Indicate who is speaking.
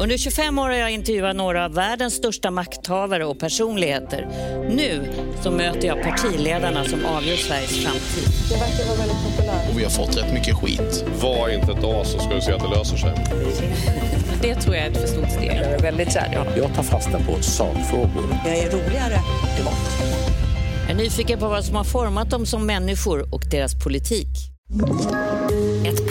Speaker 1: Under 25 år har jag intervjuat några av världens största makthavare och personligheter. Nu så möter jag partiledarna som avgör Sveriges framtid.
Speaker 2: Det verkar vara väldigt populärt.
Speaker 3: Och vi har fått rätt mycket skit.
Speaker 4: Var inte ett as så ska du se att det löser sig.
Speaker 5: Det tror jag är ett för stort steg.
Speaker 2: Jag är väldigt kär. Ja.
Speaker 6: Jag tar fasta på sakfrågor.
Speaker 2: Jag är roligare privat.
Speaker 1: Jag är nyfiken på vad som har format dem som människor och deras politik.
Speaker 7: Ett